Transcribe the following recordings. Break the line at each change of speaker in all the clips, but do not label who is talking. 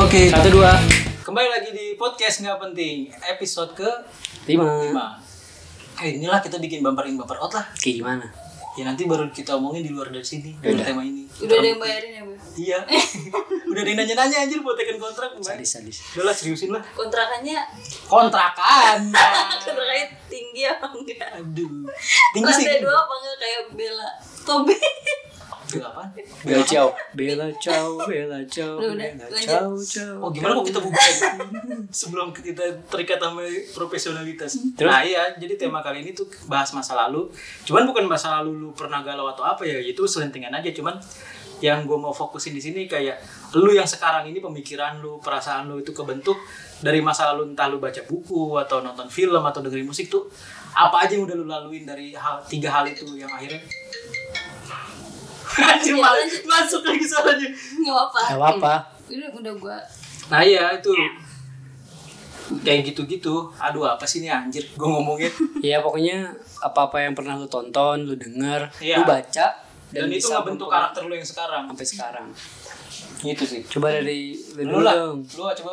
Oke.
Satu dua. Kembali lagi di podcast nggak penting episode ke
Lima.
lima. Kayak inilah kita bikin bumperin bumper out lah.
Kayak gimana?
Ya nanti baru kita omongin di luar dari sini di luar tema ini.
Udah ada yang bayarin ya, Bu?
Iya. Udah ada yang nanya-nanya anjir buat tekan kontrak Mbak.
Sadis sadis.
Udah lah seriusin lah.
Kontrakannya
Kontrakan.
kontrakannya tinggi apa enggak?
Aduh. Tinggi sih.
Lantai dua apa enggak kayak Bella? Tobi.
Gila apaan?
Bella ciao. Bella ciao. Bella ciao.
Udah, udah,
Bella
lanjut.
ciao ciao.
Oh gimana kok kita bubarin sebelum kita terikat sama profesionalitas.
Terus?
Nah iya, jadi tema kali ini tuh bahas masa lalu. Cuman bukan masa lalu lu pernah galau atau apa ya, itu selentingan aja. Cuman yang gue mau fokusin di sini kayak lu yang sekarang ini pemikiran lu, perasaan lu itu kebentuk dari masa lalu entah lu baca buku atau nonton film atau dengerin musik tuh apa aja yang udah lu laluin dari hal tiga hal itu yang akhirnya Anjir,
Iya,
malah
lanjut.
masuk lagi suaranya.
Enggak apa.
Gak apa-apa.
Ini udah gua
Nah iya itu kayak gitu-gitu. Aduh apa sih ini anjir gue ngomongnya.
Ya pokoknya apa-apa yang pernah lu tonton, lu denger,
Iya.
lu baca
Dan, itu
bisa
nggak
mempengaruhi
bentuk karakter lu yang sekarang.
sampai sekarang.
Gitu sih.
Coba dari lu
Lu
dulu
lah,
dong.
lu lah, coba.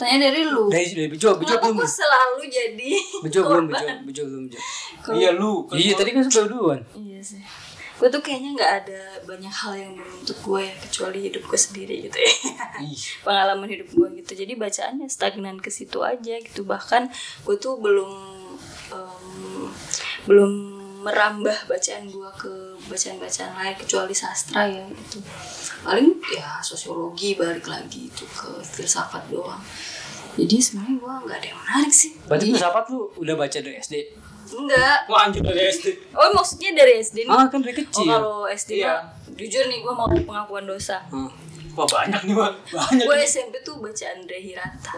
tanya dari lu.
Dari dari bejo, bejo
Kenapa
belum.
gua selalu jadi
Bejo belum, bejo,
korban?
bejo belum, bejo.
Kalau-
Iya lu. Kan
Iya,
gua-
tadi kan sudah duluan.
Iya sih. Gue tuh kayaknya nggak ada banyak hal yang membentuk gue ya kecuali hidup gue sendiri gitu ya.
Ih,
pengalaman hidup gue gitu jadi bacaannya stagnan ke situ aja gitu bahkan gue tuh belum em, belum merambah bacaan gue ke bacaan-bacaan lain kecuali sastra ya gitu paling ya sosiologi balik lagi itu ke filsafat doang jadi sebenarnya gue nggak ada yang menarik sih
Berarti filsafat lu udah baca dari SD.
enggak
Mau anjir dari SD.
oh maksudnya dari SD nih
Ah, kan dari
oh
kecil.
kalau SD
Iya.
mah, jujur nih gue mau pengakuan dosa
Ah.
Wah banyak nih bang. Banyak.
gue SMP tuh baca Andre Hirata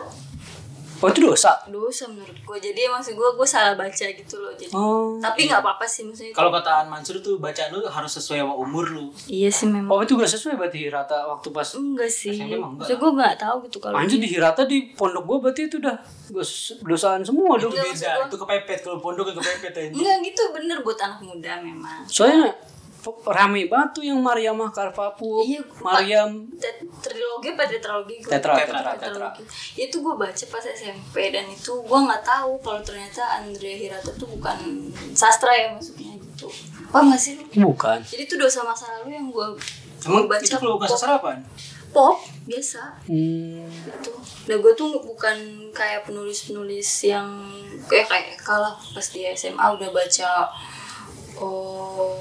Oh, itu dosa.
dosa menurut gue jadi maksud gue gue salah baca gitu loh jadi
Oh.
tapi nggak apa-apa sih maksudnya
Kalau kataan Mansur tuh bacaan lu harus sesuai sama umur lu.
iya sih memang
Oh, itu gak sesuai berarti Hirata waktu pas
Oh.
enggak sih
SMP emang enggak
maksud gue nggak tahu gitu kalau
Anjir di Hirata di pondok gua berarti itu udah dos- dosaan
Iya,
semua dong.
Itu beda. Itu kepepet kalau pondok kan kepepet aja.
enggak gitu bener buat anak muda memang
Soalnya f- rame banget tuh yang Mariamah Karpapu,
Iya, gua-
Mariam
Tet- trilogi apa tetralogi gua-
Tetra,
tetra,
tetra.
tetralogi. Ya itu gue baca pas SMP dan itu gue nggak tahu kalau ternyata Andrea Hirata tuh bukan sastra ya maksudnya gitu paham nggak sih lu?
bukan.
jadi tuh dosa masa lalu yang gue
Emang
baca
itu kalau bukan
pop-
sastra apaan?
pop biasa
Hmm,
gitu. Nah gue tuh bukan kayak penulis-penulis yang kayak kayak kalah pas di SMA udah baca oh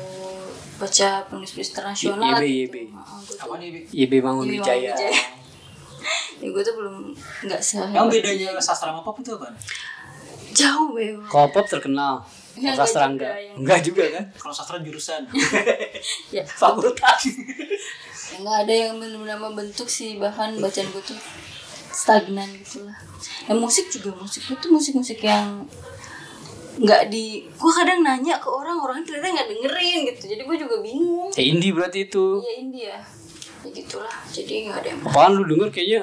baca penulis-penulis internasional
YB, YB.
gitu. Heeh, gua tuh-
Apa nih? Bi?
YB Bangun
YB
Wijaya.
Wijaya. Ya gue tuh belum nggak sehebat
Yang
iya.
bedanya sastra sama pop itu apaan?
jauh beo.
Kalau pop terkenal,
Ya,
kalau sastra
enggak
enggak.
juga yang-
Enggak juga kan?
Kalau sastra jurusan.
Ya
Fakultas.
ya nggak ada yang benar-benar membentuk sih bahkan bacaan gue tuh stagnan gitu lah dan musik juga musik itu musik-musik yang nggak di gue kadang nanya ke orang orang ternyata nggak dengerin gitu jadi gue juga bingung
ya indie berarti itu.
iya India ya gitulah jadi nggak ada yang
Apaan lu denger kayaknya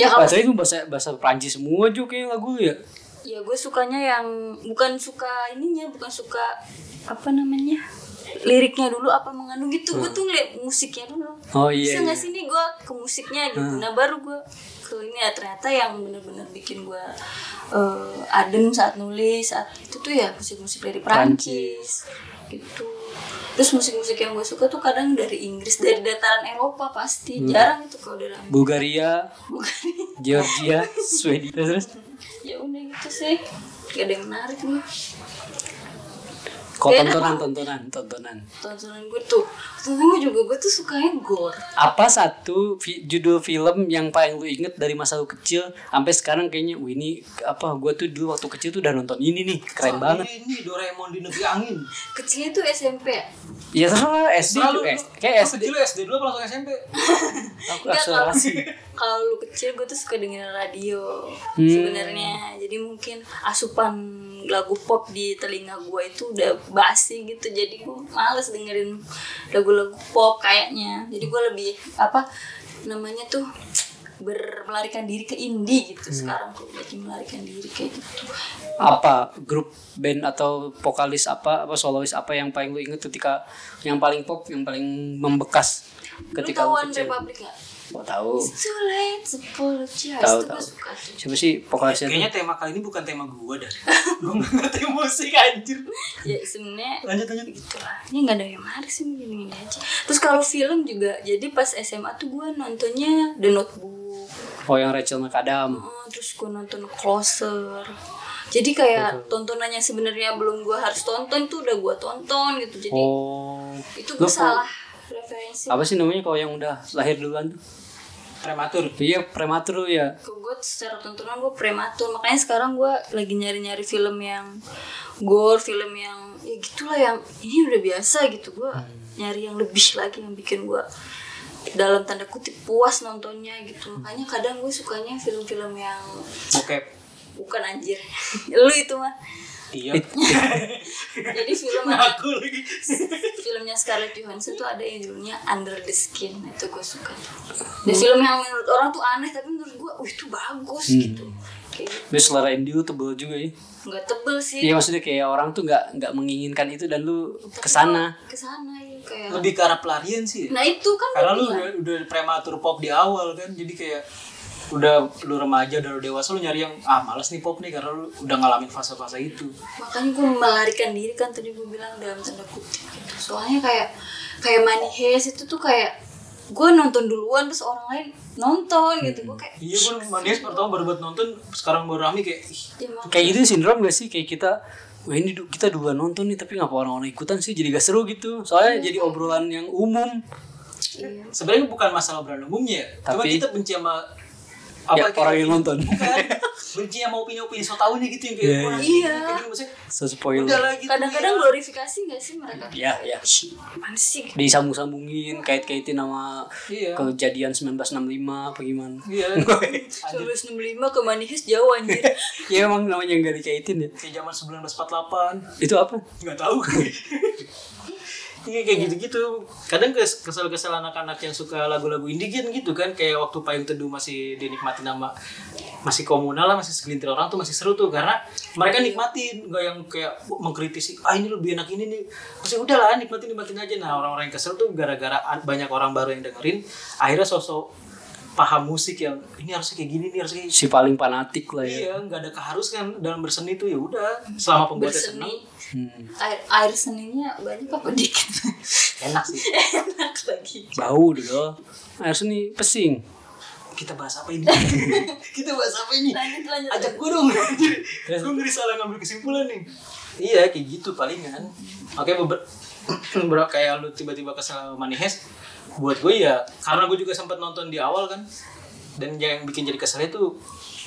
ya kalau
bahasa itu bahasa bahasa Prancis semua juga kayaknya lagu lu ya.
ya gue sukanya yang bukan suka ininya bukan suka apa namanya liriknya dulu apa mengandung gitu gue tuh ngeliat musiknya dulu
Hmm. Oh iya.
bisa
iya.
nggak
Hmm.
sih nih gue ke musiknya gitu nah baru gue ke ini ya ternyata yang bener-bener bikin gue eh, adem saat nulis saat itu tuh ya musik-musik dari Prancis gitu terus musik-musik yang gue suka tuh kadang dari Inggris dari dataran Eropa pasti
Hmm.
jarang itu kalau dari Amerika
Bulgaria,
bukan
Georgia, Swedia terus.
ya udah gitu sih gak ada yang menarik nih
Kalau
Beda.
tontonan, tontonan, tontonan.
tontonan gue tuh tontonan gue juga gue tuh sukanya gore
Apa satu fi- judul film yang paling lu inget dari masa lu kecil sampai sekarang kayaknya, wih ini apa? Gua tuh dulu waktu kecil tuh udah nonton ini nih, keren banget.
Ini Doraemon di negeri angin.
kecilnya tuh SMP ya
Ya terserah SD,
Selalu
eh,
lu-
kayak
lu
SD.
kecil lu SD dulu apa langsung SMP?
Aku
Enggak, kalau-
akselerasi.
kalau lu kecil gue tuh suka dengerin radio
Hmm.
sebenarnya jadi mungkin asupan lagu pop di telinga gue itu udah basi gitu jadi gue males dengerin lagu-lagu pop kayaknya jadi gue lebih apa namanya tuh ber- melarikan diri ke indie gitu
Hmm.
sekarang gue lagi melarikan diri kayak gitu
apa grup band atau vokalis apa apa solois apa yang paling lu inget ketika yang paling pop yang paling membekas ketika lu
lu tahu One
kecil
Republic gak?
Gak tahu.
It's too late to apologize.
Tahu,
Itu gue
tahu.
suka tuh.
Siapa sih vokalis itu?
Kayaknya tema kali ini bukan tema gua dah. gua nggak ngerti musik anjir.
Ya sebenarnya
Lanjut lanjut.
gitulah. Ini nggak ada yang menarik sih gini aja. Terus kalau film juga, jadi pas SMA tuh gue nontonnya The Notebook.
Oh yang Rachel McAdam.
Oh, terus gue nonton Closer. Jadi kayak tontonannya sebenarnya belum gue harus tonton tuh udah gue tonton gitu. Jadi
Oh.
itu
Lu
gue salah referensi.
Apa sih namanya kalau yang udah lahir duluan tuh?
Prematur.
Iya prematur ya.
Ke gue secara tontonan gue prematur makanya sekarang gue lagi nyari-nyari film yang gore film yang ya gitulah yang ini udah biasa gitu gue nyari yang lebih lagi yang bikin gue dalam tanda kutip puas nontonnya gitu makanya kadang gue sukanya film-film yang
Bokep.
bukan anjir lu itu mah
Iya.
jadi film
Aku lagi.
filmnya Scarlett Johansson tuh ada yang judulnya Under the Skin itu gue suka dan film yang menurut orang tuh aneh tapi menurut gue wah itu bagus gitu kayak gitu.
Lu selera indie lu tebel juga ya.
nggak tebel sih
Iya maksudnya kayak orang tuh nggak nggak menginginkan itu dan lu kesana.
kesana ya kayak
Lebih ke arah pelarian sih. ya.
nah itu kan
Karena lu
gua
udah, udah prematur pop di awal kan, jadi kayak udah lu remaja udah lu dewasa lu nyari yang ah males nih pop nih karena lu udah ngalamin fase-fase itu
bilang. makanya gue melarikan diri kan tadi gue bilang dalam tanda kutip gitu soalnya kayak kayak Money Heist itu tuh kayak gue nonton duluan terus orang lain nonton gitu gue kayak
iya gue manis pertama baru buat nonton sekarang baru rame kayak ih,
ya, mak-
Kayak itu sindrom gak sih kayak kita Wah ini du- kita duluan nonton nih tapi ngapa orang-orang ikutan sih jadi gak seru gitu Soalnya jadi obrolan yang umum
gitu
iya.
sebenarnya bukan masalah brand umumnya cuma
Tapi-
kita benci sama
Ya
kayak-
orang yang nonton
bukan benci sama opini-opini so tau nih gitu yang kayak
Iya.
"Wah,
Iya.
kayak gini, maksudnya
So
udah gitu, iya.
spoiler
lagi
kadang-kadang glorifikasi nggak sih mereka
Ya ya
Apaan sih
Disambung-sambungin kait-kaitin sama
iya
kejadian 1965 apa gimana
iya Anjir,
Sulus 65 ke Manihis jauh anjir
Ya emang namanya nggak dikaitin ya
kayak zaman 1948
Itu apa?
nggak tahu Iya kayak gitu-gitu. Kadang kes- kesel-kesel anak-anak yang suka lagu-lagu indie kan gitu kan kayak waktu payung teduh masih dinikmati nama masih komunal lah, masih segelintir orang tuh masih seru tuh karena mereka nikmatin nggak yang kayak "Wah, mengkritisi ah ini lebih enak ini nih. Maksudnya udahlah nikmatin nikmatin aja. Nah orang-orang yang kesel tuh gara-gara an- banyak orang baru yang dengerin akhirnya sosok paham musik yang ini harusnya kayak gini nih harusnya kayak gini.
Si paling fanatik lah ya
Iya, nggak ada keharusan dalam berseni tuh ya udah selama pembuatnya seneng
Berseni
Hmm.
air, air seninya banyak apa dikit
enak sih.
Enak lagi
Bau dulu Harus nih pesing
kita bahas apa ini? kita bahas apa ini?
Lanjut lanjut
Ajak gue dong. gue ngeri salah ngambil kesimpulan nih. Iya kayak gitu palingan. Oke beber beberapa kayak lu tiba-tiba kesel sama Manihes. Buat gue ya karena gue juga sempat nonton di awal kan. Dan yang bikin jadi kesel itu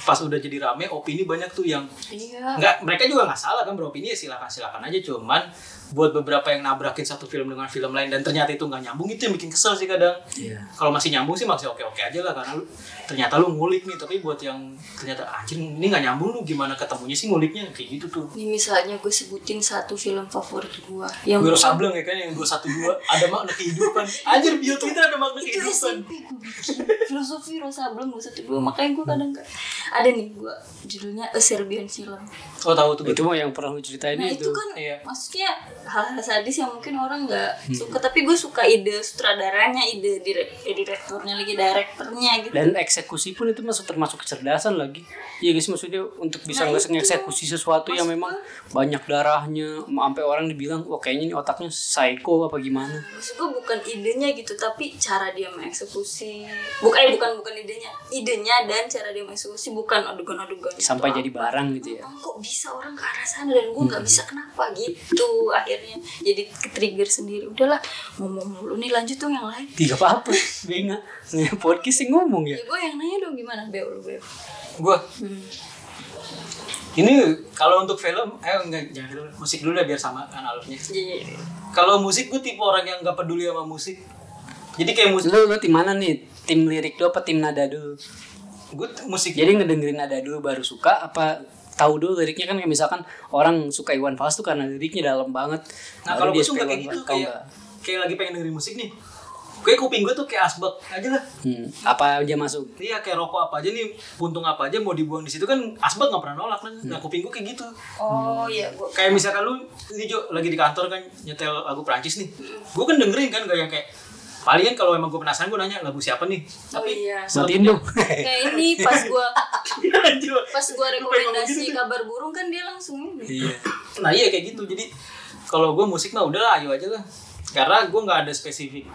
pas udah jadi rame opini banyak tuh yang
Iya
nggak mereka juga nggak salah kan beropini ya silakan silakan aja cuman buat beberapa yang nabrakin satu film dengan film lain dan ternyata itu nggak nyambung itu yang bikin kesel sih kadang
Iya
kalau masih nyambung sih masih oke oke aja lah karena lu ternyata lu ngulik nih tapi buat yang ternyata "Ah, anjir ini nggak nyambung lu gimana ketemunya sih nguliknya kayak gitu tuh
Ini misalnya gue sebutin satu film favorit gue yang
Wiro Sableng ya kan yang dua satu dua ada makna kehidupan anjir bio Twitter ada makna
itu
kehidupan
SMP gue bikin filosofi Rosa belum gue satu dua makanya gue kadang nggak- ada nih gue judulnya A Serbian Film
oh tahu tuh
Itu mah yang pernah lu ceritain
nah itu
itu
kan
iya.
maksudnya hal-hal sadis yang mungkin orang nggak suka tapi gue suka ide sutradaranya ide direk eh, direkturnya lagi direkturnya gitu
dan eksekusi pun itu masuk termasuk kecerdasan lagi ya guys maksudnya untuk bisa
Nah, itu.
ngeksekusi sesuatu yang
Maksud
memang banyak darahnya sampai orang dibilang wah kayaknya ini otaknya psycho apa gimana
maksud gue bukan idenya gitu tapi cara dia mengeksekusi bukan eh, bukan bukan idenya idenya dan cara dia mengeksekusi bukan adegan-adegan
sampai jadi barang gitu ya
kok bisa orang ke arah sana dan gue
Hmm.
nggak bisa kenapa gitu akhirnya jadi ke trigger sendiri udahlah ngomong mulu nih lanjut dong yang lain
tiga apa apa bingung podcast sih ngomong ya
Iya.
ya gue yang nanya dong gimana beo lu beo
gue
hmm.
ini kalau untuk film eh enggak jangan dulu musik dulu deh biar sama kan alurnya
jadi
kalau musik gue tipe orang yang nggak peduli sama musik jadi kayak musik
lu lu tim mana nih tim lirik dulu apa tim nada dulu
gue musik
jadi ngedengerin nada dulu baru suka apa tahu dulu liriknya kan kayak misalkan orang suka Iwan Fals tuh karena liriknya dalam banget
Nah
Baru
kalau
dia
gue tuh
suka
nggak kayak
Iwan
gitu
Fals. Tahu
kayak
nggak?
kayak lagi pengen dengerin musik nih. Kayak kuping gue tuh kayak asbak aja lah.
Hmm, apa aja masuk
Iya kayak rokok apa aja nih, puntung apa aja mau dibuang di situ kan asbak nggak pernah nolak kan.
Hmm.
Nah kuping gue kayak gitu.
oh iya gue
Kayak misalkan lu ini Jo, lagi di kantor kan nyetel lagu Prancis nih. Gue kan dengerin kan gak yang kayak palingan kalau emang gue penasaran gue nanya lagu siapa nih
Oh
tapi
iya.
Matiin dong.
Kayak ini pas gua
Anjir.
pas
Gua
gua
pengen ngomong
rekomendasi
gitu tuh.
kabar burung kan dia langsung ini.
iya.
nah iya kayak gitu jadi kalau gue musik mah udah lah ayo aja lah karena gue nggak ada spesifik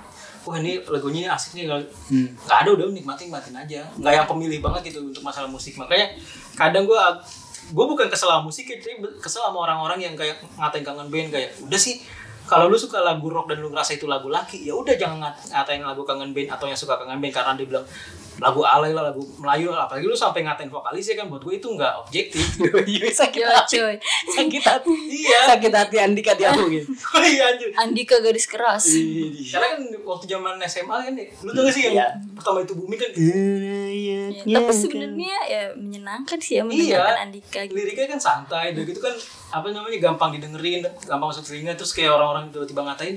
wah ini lagunya ini asik nih kalau-
Hmm.
nggak ada udah nikmatin nikmatin aja nggak yang pemilih banget gitu untuk masalah musik makanya kadang gue gue bukan kesel sama musik ya, tapi kesel sama orang-orang yang kayak ngatain kangen band kayak udah sih kalau lu suka lagu rock dan lu ngerasa itu lagu laki ya udah jangan ngat- ngatain lagu kangen band atau yang suka kangen band karena dia bilang lagu alay lah lagu melayu lah apalagi lu sampai ngatain vokalisnya kan buat gue itu nggak objektif
Iya, sakit
Yo
hati.
coy.
Sakit hati.
iya
Sakit hati Andika Tiago gitu.
iya anjir
Andika garis keras. Iya.
karena kan waktu zaman SMA kan ya, lu tau gak sih yang
Iya.
pertama itu bumi kan
Ya, tapi sebenarnya ya menyenangkan sih ya mendengarkan
Iya,
Andika gitu.
liriknya kan santai, udah gitu kan apa namanya gampang didengerin, gampang masuk telinga, terus kayak orang-orang tiba-tiba ngatain,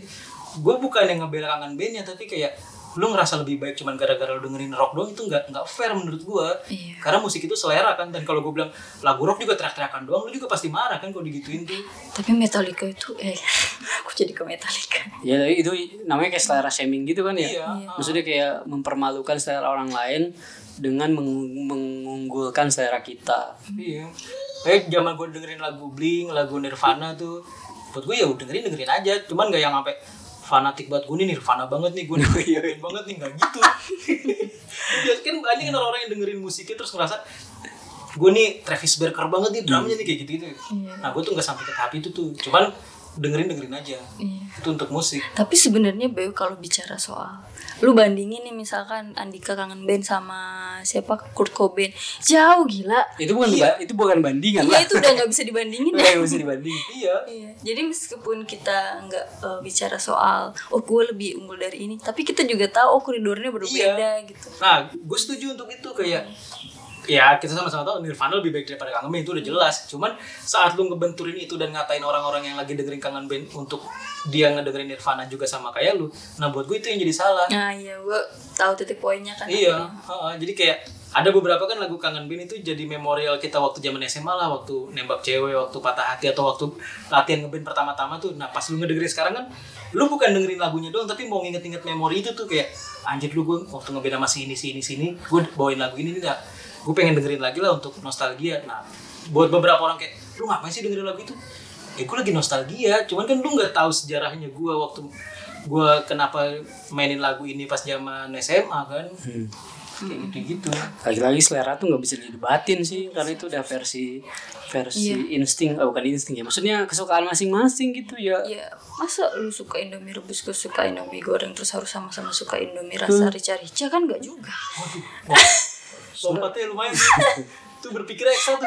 gue bukan yang ngebela kangen bandnya, tapi kayak lu ngerasa lebih baik cuman gara-gara lu dengerin rock doang itu nggak nggak fair menurut gue,
Iya.
karena musik itu selera kan, dan kalau gue bilang lagu rock juga teriak-teriakan doang, lu juga pasti marah kan kalau digituin tuh.
Tapi Metallica itu eh aku jadi ke Metallica.
Ya tapi itu namanya kayak selera shaming gitu kan ya.
Iya.
Maksudnya kayak mempermalukan selera orang lain dengan mengung- mengunggulkan selera kita.
Iya. Kayak zaman gue dengerin lagu Blink, lagu Nirvana tuh, buat gue ya dengerin dengerin aja, cuman gak yang sampai fanatik banget gue nih Nirvana banget nih gue dengerin banget nih nggak gitu. Iya kan banyak kan orang-orang yang dengerin musiknya terus ngerasa gue nih Travis Barker banget nih drumnya nih kayak gitu gitu.
Iya.
Nah gue tuh nggak sampai ke tahap itu tuh, cuman dengerin dengerin aja.
Iya.
Itu untuk musik.
Tapi sebenarnya Beo kalau bicara soal lu bandingin nih misalkan Andika kangen band sama siapa Kurt Cobain jauh gila.
Itu bukan
Iya.
itu bukan bandingan lah.
Iya itu udah nggak bisa dibandingin
Itu
ya.
kayak bisa dibanding.
Iya.
Iya. Jadi meskipun kita nggak eh, bicara soal oh gue lebih unggul dari ini, tapi kita juga tahu oh koridornya berbeda gitu.
Nah, gue setuju untuk itu kayak ya kita sama-sama tahu Nirvana lebih baik daripada Kangen Band itu udah jelas. Cuman saat lu ngebenturin itu dan ngatain orang-orang yang lagi dengerin Kangen Band untuk dia ngedengerin Nirvana juga sama kayak lu, nah buat gue itu yang jadi salah.
Nah iya gue tahu titik poinnya kan.
Iya, heeh. jadi kayak ada beberapa kan lagu kangen bin itu jadi memorial kita waktu zaman SMA lah, waktu nembak cewek, waktu patah hati atau waktu latihan ngeband pertama-tama tuh. Nah pas lu ngedengerin sekarang kan, lu bukan dengerin lagunya doang, tapi mau nginget-nginget memori itu tuh kayak anjir lu gue waktu ngeband sama si ini, si ini, si ini, gue bawain lagu ini nih nah, gue pengen dengerin lagi lah untuk nostalgia. Nah buat beberapa orang kayak lu ngapain sih dengerin lagu itu? Ya gue lagi nostalgia, cuman kan lu nggak tahu sejarahnya gue waktu gue kenapa mainin lagu ini pas zaman SMA kan kayak gitu gitu
Lagi-lagi selera tuh nggak bisa didebatin sih karena itu udah versi versi insting, oh, bukan insting ya. Maksudnya kesukaan masing-masing gitu ya.
Ya masa lu suka indomie rebus gue suka indomie goreng terus harus sama-sama suka indomie rasa rica-rica kan nggak juga.
lompatnya ya, lumayan tuh berpikir ekstra tuh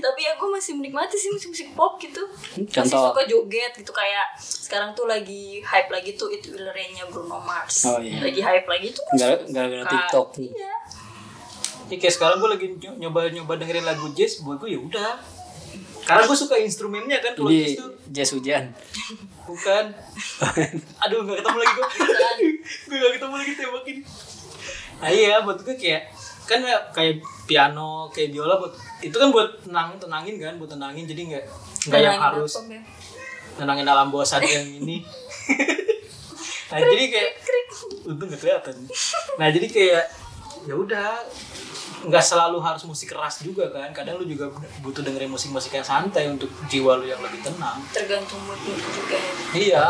tapi aku masih menikmati sih musik-musik pop gitu. Masih
Contoh.
suka joget gitu kayak sekarang tuh lagi hype lagi tuh It Will Rain-nya Bruno Mars.
Oh, iya.
Lagi hype lagi tuh. kan
Gara- gara-gara TikTok.
Iya.
ini kayak sekarang gue lagi ny- nyoba nyoba dengerin lagu jazz buat gue ya udah karena gue suka instrumennya kan kalau
Jadi
jazz
Iya.
tuh
jas hujan.
bukan aduh nggak ketemu lagi gue gue nggak ketemu lagi tembakin nah iya buat gue kayak kan kayak piano kayak biola buat itu kan buat tenang tenangin kan buat tenangin jadi nggak nggak yang
Tenangin
harus
apa, Bel?
nenangin alam bawah sadar yang ini nah jadi kayak untung gak kelihatan nah jadi kayak ya udah nggak selalu harus musik keras juga kan kadang lu juga butuh dengerin musik-musik yang santai untuk jiwa lu yang lebih tenang
Tergantung mood mood juga. ya.
iya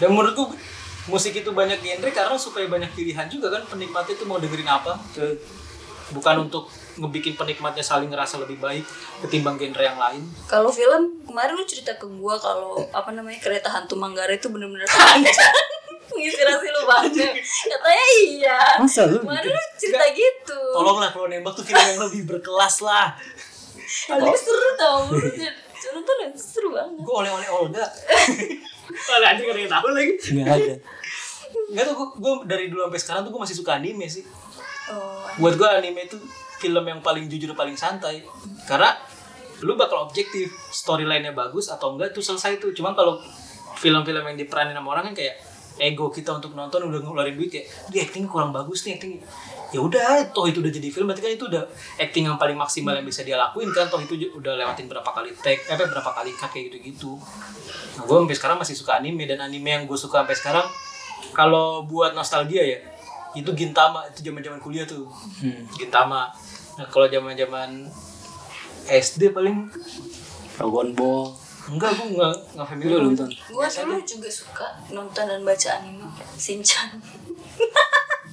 dan menurutku musik itu banyak genre karena supaya banyak pilihan juga kan penikmatnya itu mau dengerin apa
Tuh.
bukan untuk ngebikin penikmatnya saling ngerasa lebih baik ketimbang genre yang lain
Kalau film kemarin lu cerita ke gua kalau apa namanya kereta hantu Manggarai itu bener-bener sangat menginspirasi lu banget. Katanya iya.
Masa lu
Kemarin lu cerita gitu.
tolonglah kalau nembak tuh film yang lebih berkelas lah
Oh.
Tapi seru tau. Seru tuh seru banget.
gue oleh-oleh Olga oleh anjing gak ada yang tahu lagi
nggak ada.
nggak tuh gue dari dulu sampai sekarang tuh gue masih suka anime sih
Oh,
buat gue anime itu film yang paling jujur paling santai karena lu bakal objektif storyline-nya bagus atau enggak tuh selesai tuh cuman kalau film-film yang diperanin sama orang kan kayak ego kita untuk nonton udah ngeluarin duit kayak dia acting kurang bagus nih acting ya udah toh itu udah jadi film berarti kan itu udah acting yang paling maksimal yang bisa dia lakuin kan toh itu ju- udah lewatin berapa kali take eh berapa kali cut kayak gitu gitu nah gue sampai sekarang masih suka anime dan anime yang gue suka sampai sekarang Kalau buat nostalgia ya, itu Gintama itu zaman-zaman kuliah tuh.
Hmm.
Gintama. Nah, kalau zaman-zaman SD paling
Dragon Ball.
enggak gue enggak enggak
Lu
familiar sama
nonton?
itu.
Gue
Biasa aja.
dulu juga suka nonton dan baca anime Shinchan.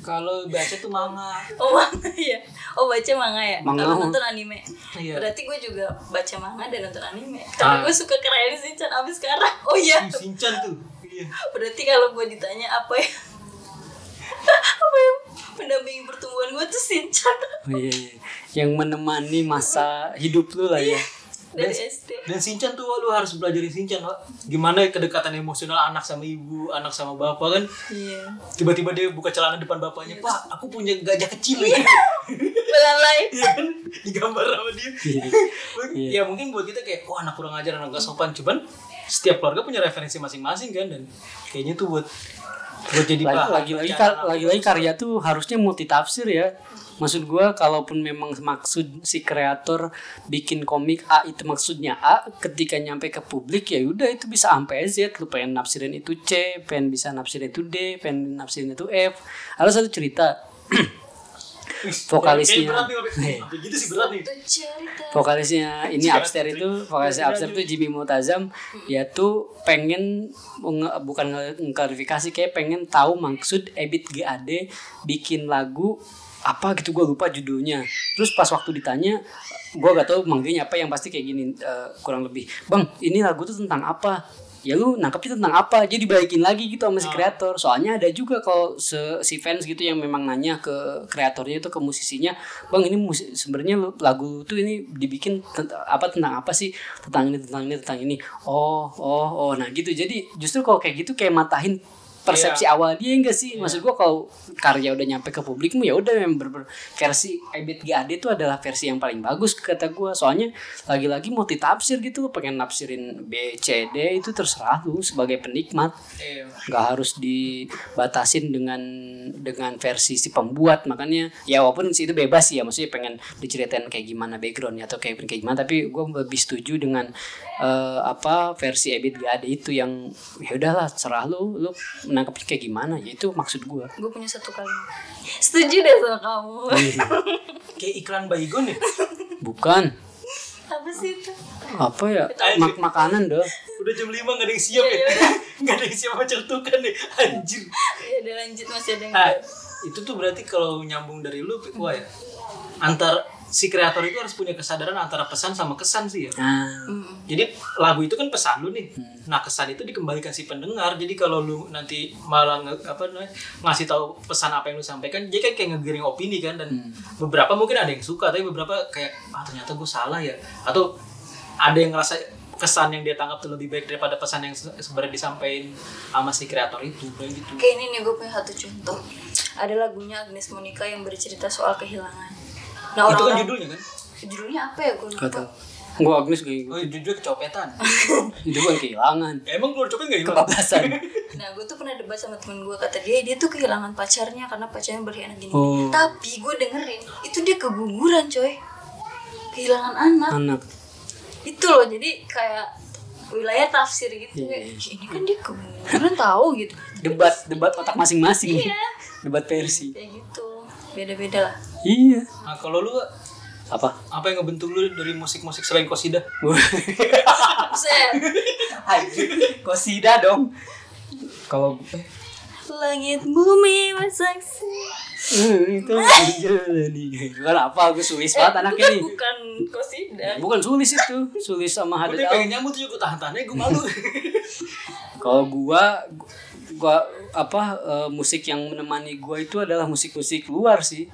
Kalau baca tuh manga.
Oh manga ya? Oh baca manga ya?
Manga.
Kalau nonton anime
Iya.
Berarti gue juga baca manga dan nonton anime Karena
Ah.
gue suka keren Shinchan abis sekarang Oh
Ih,
iya
Shinchan tuh. Iya.
Berarti kalau gue ditanya apa ya Apa yang pendamping pertumbuhan gue tuh Shinchan
Oh, iya, iya. Yang menemani masa hidup lu lah ya.
Dari
Dan-
SD
Dan Shinchan tuh lu harus belajarin Shinchan, Wak. Gimana kedekatan emosional anak sama ibu, anak sama bapak kan.
Iya
Tiba-tiba dia buka celana depan bapaknya, "Pak, aku punya gajah kecil." ya."
Iya.
Belalai
Iya kan? Digambar sama dia.
Iya. Iya.
ya mungkin buat kita kayak wah anak kurang ajar anak gak sopan cuman setiap keluarga punya referensi masing-masing kan dan kayaknya tuh buat buat jadi bahan
lagi lagi
bacaan anak.
lagi lagi karya tuh harusnya multi tafsir ya maksud gua kalaupun memang maksud si kreator bikin komik A itu maksudnya A ketika nyampe ke publik ya udah itu bisa sampai Z lu pengen nafsirin itu C pengen bisa nafsirin itu D pengen nafsirin itu F ada satu cerita vokalisnya. Iya.
Kayaknya berat nih sampai- sampai gitu sih berat nih
Itu cerita
vokalisnya ini
Sekarang
upstairs
Putri.
itu vokalisnya
Putri
upstairs
lanjut.
itu Jimmy Mutazam dia tuh pengen menge- bukan nge- ngeklarifikasi kayak pengen tahu maksud Ebit GAD bikin lagu apa gitu gue lupa judulnya terus pas waktu ditanya gue gak tahu manggilnya apa yang pasti kayak gini eh, kurang lebih bang ini lagu tuh tentang apa ya lu nangkepnya tentang apa jadi balikin lagi gitu sama si
Ah.
kreator soalnya ada juga kalau se- si fans gitu yang memang nanya ke kreatornya itu ke musisinya bang ini musi- sebenarnya lu- lagu lu tuh ini dibikin tent- apa tentang apa sih tentang ini tentang ini tentang ini oh oh oh nah gitu jadi justru kalau kayak gitu kayak matahin persepsi awal dia enggak sih maksud gua kalau karya udah nyampe ke publikmu ya udah yang ber- ber- versi Ebit GAD itu adalah versi yang paling bagus kata gua soalnya lagi-lagi multi tafsir gitu lu pengen nafsirin B C D itu terserah lu sebagai penikmat
Iya.
nggak harus dibatasin dengan dengan versi si pembuat makanya ya walaupun sih itu bebas sih ya maksudnya pengen diceritain kayak gimana backgroundnya atau kayak kayak gimana tapi gue lebih setuju dengan eh, apa versi Ebit gak ada itu yang ya udahlah serah lu lu menangkapnya kayak gimana ya itu maksud gue
Gue punya satu kalimat Setuju deh sama kamu
Iya. kayak iklan baygon ya
bukan
Apa sih itu?
apa ya mak makanan dong
udah jam 5 gak ada yang siap ya gak ada yang siap mau celtukan nih anjir
Ya udah lanjut masih ada yang
nah, itu tuh berarti kalau nyambung dari lu wah ya antar si kreator itu harus punya kesadaran antara pesan sama kesan sih ya
nah
Mm.
Jadi lagu itu kan pesan lu nih. Nah, kesan itu dikembalikan si pendengar. Jadi kalau lu nanti malah nge- apa namanya, ngasih tahu pesan apa yang lu sampaikan, dia kan kayak ngegiring opini kan dan beberapa mungkin ada yang suka, tapi beberapa kayak ah ternyata gue salah ya atau ada yang ngerasa kesan yang dia tangkap tuh lebih baik daripada pesan yang se- sebenarnya disampaikan sama si kreator itu kayak gitu.
Kayak ini nih gue punya satu contoh Ada lagunya Agnes Monica yang bercerita soal kehilangan Nah
itu kan
orang-orang
judulnya kan?
judulnya apa ya gue
gak
lupa
tau gue Agnes kayak gitu
Oh, judulnya kecopetan.
itu kan kehilangan
Ya, emang lu copet gak hilang?
kebablasan
Nah gue tuh pernah debat sama temen gue Kata dia dia tuh kehilangan pacarnya karena pacarnya berkhianat gini
Oh.
Tapi gue dengerin itu dia keguguran coy Kehilangan anak
anak
Itu loh jadi kayak wilayah tafsir gitu
Iya,
kayak, Ini kan dia keguguran tahu gitu
debat debat otak masing-masing
Iya.
debat versi
Kayak gitu Beda-beda lah
iya
Nah, kalau lu
apa
apa yang ngebentuk lu dari musik-musik selain Kosida?
Buset.
kosida dong kalau
Langit bumi bersaksi
Eh, itu menjalani kan apa gue sulis banget anaknya nih
bukan, Eh, kan bukan kosida
bukan sulis itu sulis sama
Gue
hadat
pengen nyambut tuh gue tahan-tahannya gue malu.
kalau gua gua apa eh, musik yang menemani gua itu adalah musik-musik luar sih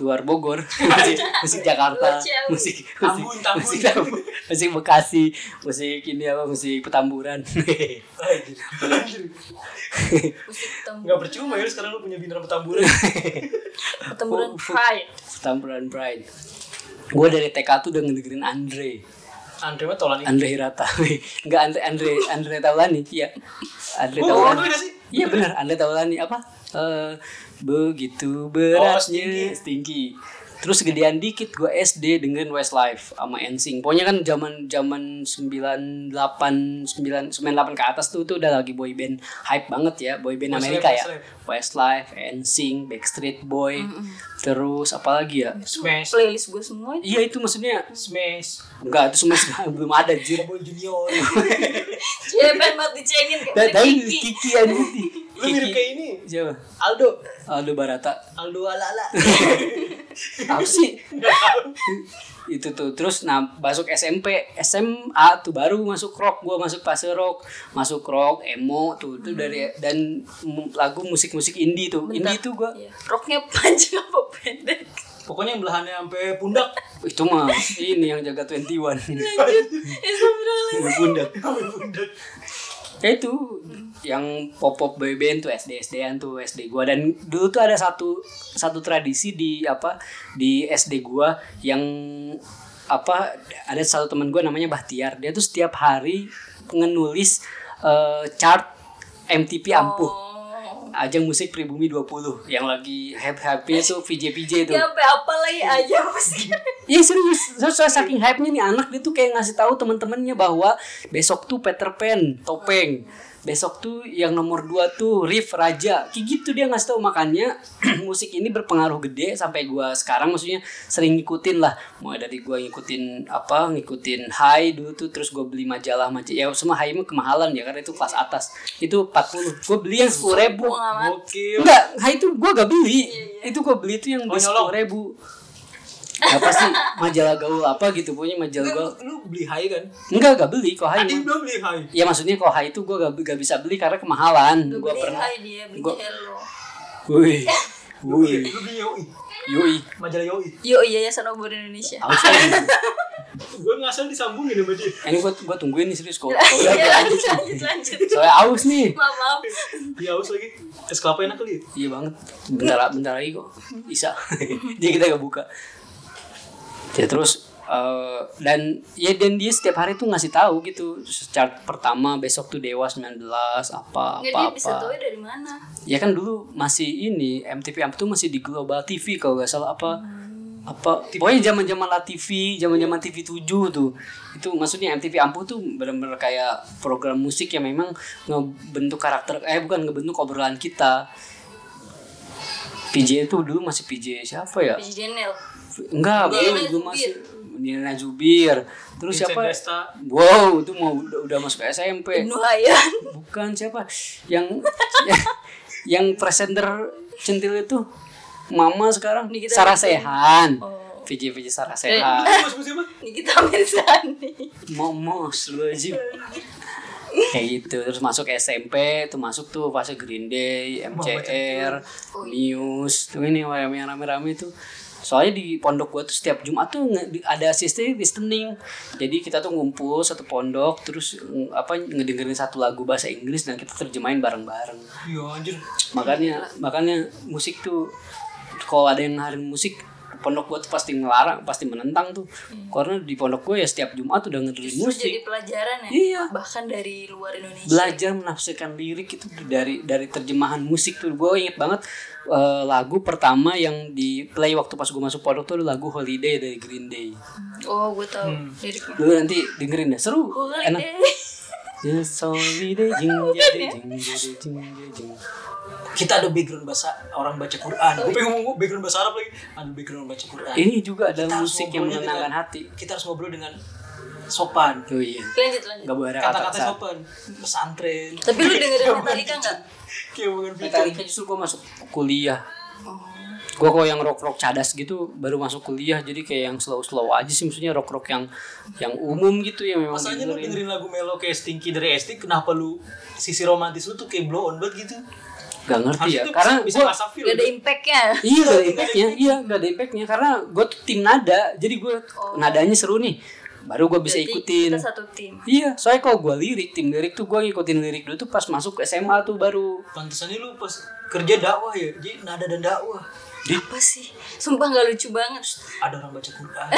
luar Bogor musik, musik Jakarta
Luar Ciawi.
musik musik
Tambun, Tambun.
musik, Tambun, musik Bekasi musik ini apa musik Petamburan
Anjir. Anjir.
musik
Nggak
tem-
percuma ya sekarang lu punya bintang petamburan.
temburan pride
Petamburan Pride gua dari TK tuh udah ngedengerin Andre
Andre mah tolan ini.
Andre Hirata nggak Andre Andre Andre Taulani iya Andre
Gue ngomong
Taulani
dulu oh, sih.
Iya benar, Anda tahu lah nih apa? Eh, begitu
Oh,
beratnya
Stinky.
Stinky. terus gedean dikit gue SD dengerin Westlife sama NSYNC pokoknya kan zaman zaman 98 9 98 ke atas tuh tuh udah lagi boy band hype banget ya boy band
Westlife,
Amerika ya
Westlife.
Westlife NSYNC Backstreet Boy terus apalagi ya
Smash,
playlist gue semua itu
iya itu maksudnya
Smash,
enggak itu semua belum ada anjir
Boy Junior.
ya pengen banget dicengin
Dan
kayak
Nah, tadi
Kiki.
Kiki aja
Lu mirip kayak ini.
Siapa?
Aldo.
Aldo Barata.
Aldo ala-ala.
Apa sih? itu tuh terus nah masuk SMP SMA tuh baru masuk rock gua masuk fase rock masuk rock emo tuh
Hmm.
tuh dari dan mu- lagu musik musik indie tuh indie tuh gua
Iya. roknya panjang apa pendek
Pokoknya yang belahannya sampai pundak.
itu mah ini yang jaga 21 ini
lanjut ya sebenernya
bunda
Sampai pundak.
ya itu yang pop pop boy band tuh SD SDan tuh SD gua dan dulu tuh ada satu satu tradisi di apa di SD gua yang apa ada satu teman gua namanya Bahtiar dia tuh setiap hari ngenulis eh, chart MTP Ampuh
oh
ajang musik pribumi 20 yang lagi hype hype tuh VJ VJ tuh
ya sampai apa lagi aja pasti
Iya serius, so, so- saking hype-nya nih anak dia tuh kayak ngasih tahu teman-temannya bahwa besok tuh Peter Pan, topeng. Besok tuh yang nomor dua tuh Riff Raja. Kayak gitu dia ngasih tahu makanya musik ini berpengaruh gede sampai gua sekarang maksudnya sering ngikutin lah. Mulai dari gua ngikutin apa, ngikutin Hai dulu tuh terus gua beli majalah majalah. Ya semua Hai mah kemahalan ya karena itu kelas atas. Itu 40. Gua beli yang 10 ribu.
Gokil.
Enggak, Hai itu gua gak beli. Itu gua beli itu yang
Oh,
beli
nyolong.
10 ribu apa sih Nah, majalah gaul apa gitu punya majalah
Lu,
gaul
lu beli high kan?
enggak gak beli kok hai
Tadi
mah.
belum beli high.
ya maksudnya kok hai itu gue gak, gak bisa beli karena kemahalan
Lu
gue
beli
pernah
hai dia beli
Gua-
hello
wih wih
Lu beli Yoi.
yoi
Majalah Yoi.
Yo iya Yayasan Obor Indonesia.
Aus, eh.
Gue ngasal disambungin sama dia.
ini gue gue tungguin nih serius kok
Iya
soalnya
lanjut lanjut lanjut.
soalnya aus nih
Maaf maaf.
Dia haus lagi. Es kelapa enak kali. ya?
iya banget bentar bentar lagi kok bisa jadi kita gak buka ya terus eh, dan ya dan dia setiap hari tuh ngasih tahu gitu secara pertama besok tuh dewa 19 apa apa
Enggak dia
apa
bisa tahu dari mana?
ya kan dulu masih ini MTV Amp tuh masih di Global TV kalau nggak salah apa apa pokoknya zaman zaman La TV zaman zaman TV 7 tuh itu maksudnya MTV Ampuh tuh benar-benar kayak program musik yang memang ngebentuk karakter eh bukan ngebentuk obrolan kita PJ itu dulu masih PJ siapa ya
Biji Daniel.
enggak belum
Diana
belum
Zubir.
masih Nina Zubir terus
Vincent
siapa
Desta.
wow itu mau udah, udah masuk SMP
Ibnu Hayyan.
bukan siapa yang yang presenter centil itu mama sekarang
Nikita
Sarah Sehan
Oh.
VJ VJ Sarah Sehan
Lu masuk siapa?
Nikita Mirzani.
momos lu
Eh.
aja kayak gitu terus masuk SMP tuh masuk tuh fase Green Day
Oh, iya.
MCR Muse tuh ini rame rame rame tuh soalnya di pondok gua tuh setiap Jumat tuh nge- di- ada sistem listening jadi kita tuh ngumpul satu pondok terus mm, apa ngedengerin satu lagu bahasa Inggris dan kita terjemahin bareng bareng
Iya anjir.
makanya makanya musik tuh kalau ada yang ngajarin musik pondok gua tuh pasti ngelarang pasti menentang tuh karena di pondok gua ya setiap Jumat udah ngedengerin
Itu
musik
jadi pelajaran ya.
Iya.
Bahkan dari luar Indonesia.
belajar menafsirkan lirik itu dari dari terjemahan musik tuh gue inget banget eh, lagu pertama yang di play waktu pas gue masuk pondok tuh lagu Holiday dari Green Day
Oh, gue tahu. Dari
lu nanti dengerin deh seru Hmm. enak
Holiday.
Just holiday jing jadi jing jadi jing jadi jing
Kita ada background bahasa orang baca Quran. Gue pengen ngomong gua background bahasa Arab lagi. Ada background baca Quran.
ini juga ada
Kita harus
musik yang
ngobrolnya
menenangkan
dengan-
hati
Kita harus ngobrol dengan sopan.
oh iya
Lanjut lanjut.
nggak boleh ada
Kata-kata
kata-kata
sopan. Pesantren.
Tapi lu dengerin Metallica enggak?
Kayak bukan Peter.
Metallica justru gue masuk kuliah
Oh.
gue kok yang rock rock cadas gitu baru masuk kuliah jadi kayak yang slow slow aja sih maksudnya rock rock yang yang umum gitu ya memang
Masanya lu
didengerin.
dengerin lagu melo kayak Stinky dari Esti, kenapa lu sisi romantis lu tuh kayak blow on banget gitu?
Gak ngerti
Harusnya
ya,
tuh
karena
bisa gitu.
gua-
ngerasa feel.
Gak ada impact-nya.
Iya gak ada impactnya, iya gak ada impactnya Karena gue tuh tim nada, jadi gue nadanya seru nih Baru gue bisa
Berarti
ikutin
Oh. Kita satu tim.
Iya, soalnya kalau gue lirik, tim lirik tuh gue ngikutin lirik dulu tuh pas masuk ke SMA tuh baru
Pantesannya lu pas kerja dakwah ya, jadi nada dan dakwah.
Apa sih? Sumpah gak lucu banget.
Ada orang baca Quran.